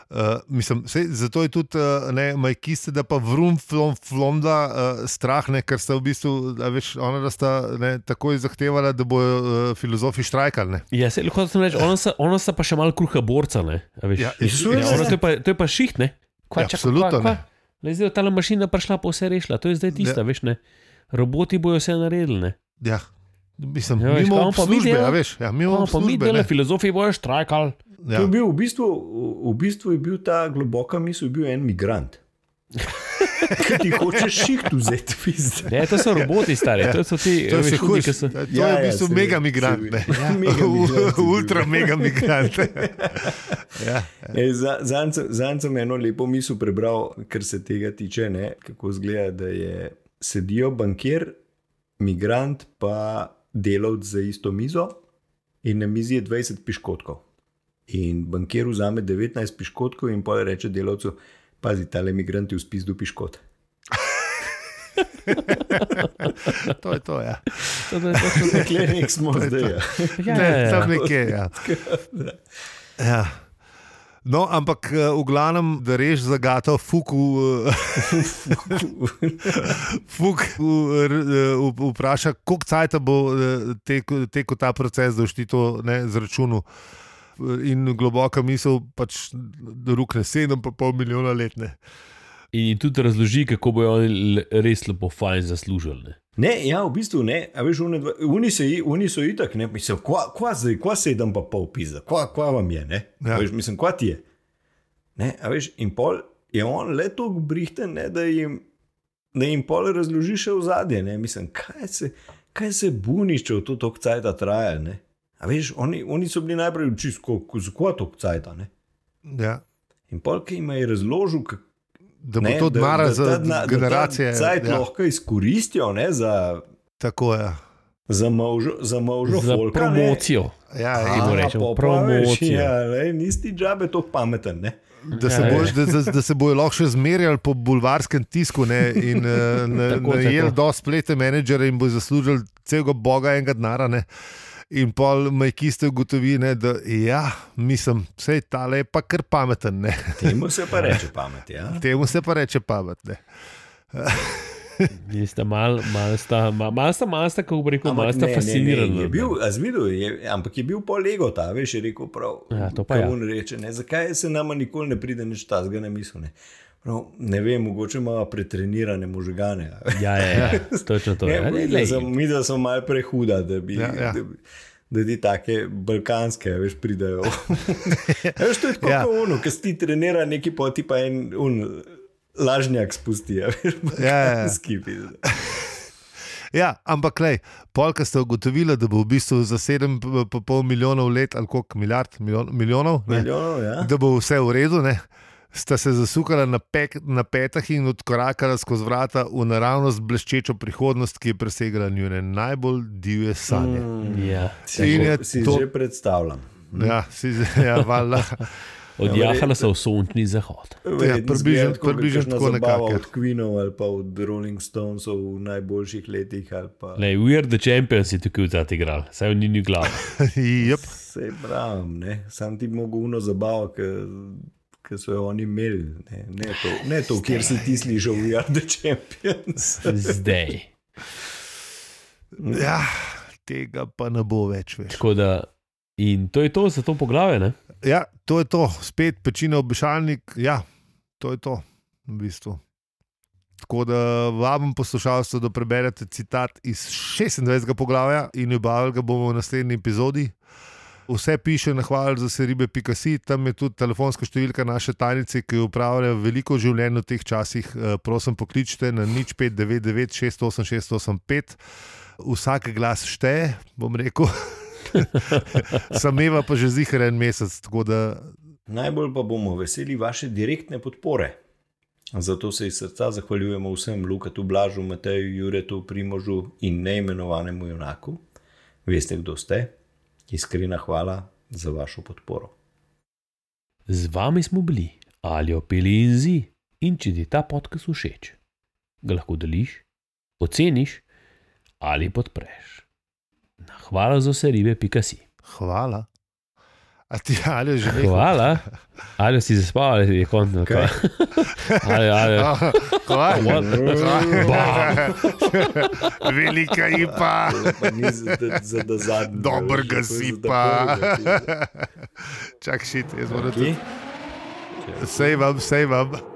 Uh, mislim, sej, zato je tudi uh, ne, majkiste, da pa vrum, flom, flomda uh, strah, ne, ker sta v bistvu, da veš, ona da sta ne, takoj zahtevala, da bojo uh, filozofi štrajkali. ne. Ja, se lahko sem reče, ona sta, ona sta pa še malo kruha borca, ne. a veš. Ja, Ja, Ja, ona, to, je pa, to je pa šiht, ne. Kva, Ja, čaka, absolutno, Kva, ne. kva? Le, zdaj je ta mašina prišla, pa vse rešila, to je zdaj tista, ja. veš ne. Roboti bojo vse naredili, ne. ja. Mislim, Ja, ja, veš, mimo kaj bomo veš, pa mi službe, delali? ja, veš, ja, mimo No, no, pa mi službe. delamo, ne. filozofi bojo štrajkali. To Ja. je bil v bistvu, v- v bistvu je bil ta globoka misel, je bil en migrant. [LAUGHS] Kaj ti hočeš šiht vzeti, pizda. Ne, to so roboti stari, to so ti, Ja. To je, veš, še hudi, hujše. ki so. To je Ja, v ja, bistvu se- mega migrant. se- ne. [LAUGHS] Ja, [LAUGHS] mega migrant je bil. Ultra mega migrant. [LAUGHS] ja, E, za- zanj sem- Zanj sem eno lepo misel prebral, kar se tega tiče, ne? kako zgleda, da je sedijo bankir, migrant pa delavc za isto mizo in na mizi je 20 piškotkov. In bankir vzame 19 piškotkov in pa reče delavcu, pazi, tale migrant je v spizdu piškot. [LAUGHS] to je to. Ja. To, to, to, to, Tukaj nek smo zdaj. ja. ja, Ne, ja, ja. Tam nekje. [LAUGHS] Ja. Ja. No, ampak eh, v glavnem, da reš zagato, fuk v, eh, [LAUGHS] fuk v, r- v, vpraša, koliko cajt bo eh, tekel tekel ta proces, da boš ti to ne, zračunal. In globoka misel, pač rukne 7,5 milijona letne. In jim tudi razloži, kako bojo oni l- res lepo fajn zaslužili. ne. Ne, ja, v bistvu ne. A veš, one dva- oni, se, i- oni so itak, ne, mislim, kva, kva zdaj, kva sedem pa pol pisa, kva, kva vam je, ne. Ja. Ja. Veš, mislim, kva ti je. Ne, a veš, in pol je on le toliko brihten, ne, da jim, da jim pol razloži še v zadje, ne, mislim, kaj se, kaj se buniš, če v to tok cajta traja, ne. A veš, oni, oni so bili najprej čisto, zakva tok cajta, ne. Ja. In pol, ki jim je razložil, kako Da bo to odmara za generacije. Zdaj ja. ja, lahko izkoristijo ne, za, tako je. Ja. za možo, za možo Za folka, promocijo. Ja, Ne. in- Temu A, rečemo pa pa veš, promocija. Ja, le, nisi džabe to pameten. Ne? Da se, Ja, boš, da, da, da se bojo lahko še zmerjali po bulvarskem tisku ne, [LAUGHS] in eh, na- Tako, najeli tako. do spletne menedžerja in bo zaslužili celega boga enega denara. Ne. In pol majkiste ugotovi, ne, da ja, mislim, vse je ta le pa kar pameten. [LAUGHS] Ne. Temu se pa reče pamet. Ja? Temu se pa reče pametne. Nista mal, mal sta, mal, mal sta, mal sta, kako bi rekel, mal sta fascinirana. Je bil, a zvidel je, ampak je bil polego ta, veš, je rekel prav. Ja, to pa ko ja. on Reče, ne, zakaj se nama nikoli ne pride nič tazga na misel? Ne? Prav, ne vem, mogoče imamo pretrenirane možgane. a veš. Ja, ja, ja, točno to. [LAUGHS] ja, Ne, ne, mi, da lej. so, mi da smo malo prehuda, da bi. Ja, Ja, ja. ja. Da bi Da ti take balkanske, veš, [LAUGHS] pridajo. veš, to je tako, Ja. ja. ono, ki si ti trenira neki poti, pa en un, lažnjak spusti, a veš, Ja, ja. balkanski. Ja. Ja, ampak le, polka ste ugotovili, da bo v bistvu za 7,5 milijonov let ali koliko milijard milijon, milijonov. ne, Milijonov, ja. da bo vse v redu. Ne? Sta se zasukala na, pek, na petah in odkorakala skozi vrata v naravnost bleščečo prihodnost, ki je presegala njihove najbolj divje sanje. Mm. Ja, Si, In je že- si to- to... že predstavljam. Ja, si, ja, [LAUGHS] valjda. Odjahala so v sončni zahod. Verjetno zgleda Ja, približno- tako, približno kakšna tako zabava nekako, ja. Od Queenov ali pa od Rolling Stonesov v najboljših letih. ali Pa... Lej, we are the champions je tukaj v zadnji igral, saj v njeni glavi. [LAUGHS] Jep. Se pravim, ne? sam ti mogoče zabavo, ki so jo oni imeli. Ne, ne, to, ne to, kjer si ti slišal, we are the champions. Zdaj. Ja, tega pa ne bo več. Veš. Tako da, in to je to za to poglavje, ne? Ja, to je to, spet pečina obešalnik. Ja, to je to. V bistvu. Tako da vabim poslušalce, da preberete citat iz 26. poglavja in objavili ga bomo v naslednji epizodi. Vse piše na hval za seribe.si, tam je tudi telefonska številka naše tajnice, ki upravlja veliko življenj v teh časih. Eh, Prosim, pokličite na nič 599 68685. Vsak glas šteje, bom rekel. [LAUGHS] Sameva pa že zihar en mesec, tako da Najbolj pa bomo veseli vaše direktne podpore. Zato se iz srca zahvaljujemo vsem Lukatu Blažu, Mateju Juretu, Primožu in neimenovanemu junaku. Veste, kdo ste? Iskrena hvala za vašo podporo. Z vami smo bili ali opili in zi. In če ti je ta podcast všeč, ga lahko deliš, oceniš ali podpreš. Na hvala za vse ribe, pika si. hvala. A ti ali že nekaj? [LAUGHS] Hvala, ali si zaspal, ali je konc na kaj. Ali, ali, Ah, Hvala. Bam. [LAUGHS] Velika ipa. Pa ni za, da- za da zadnji. veš, Dober ga to je za zipa. ta [LAUGHS] prvega, ki je- Čak šit, jaz moram Kje? tudi. Sej vam, sej vam.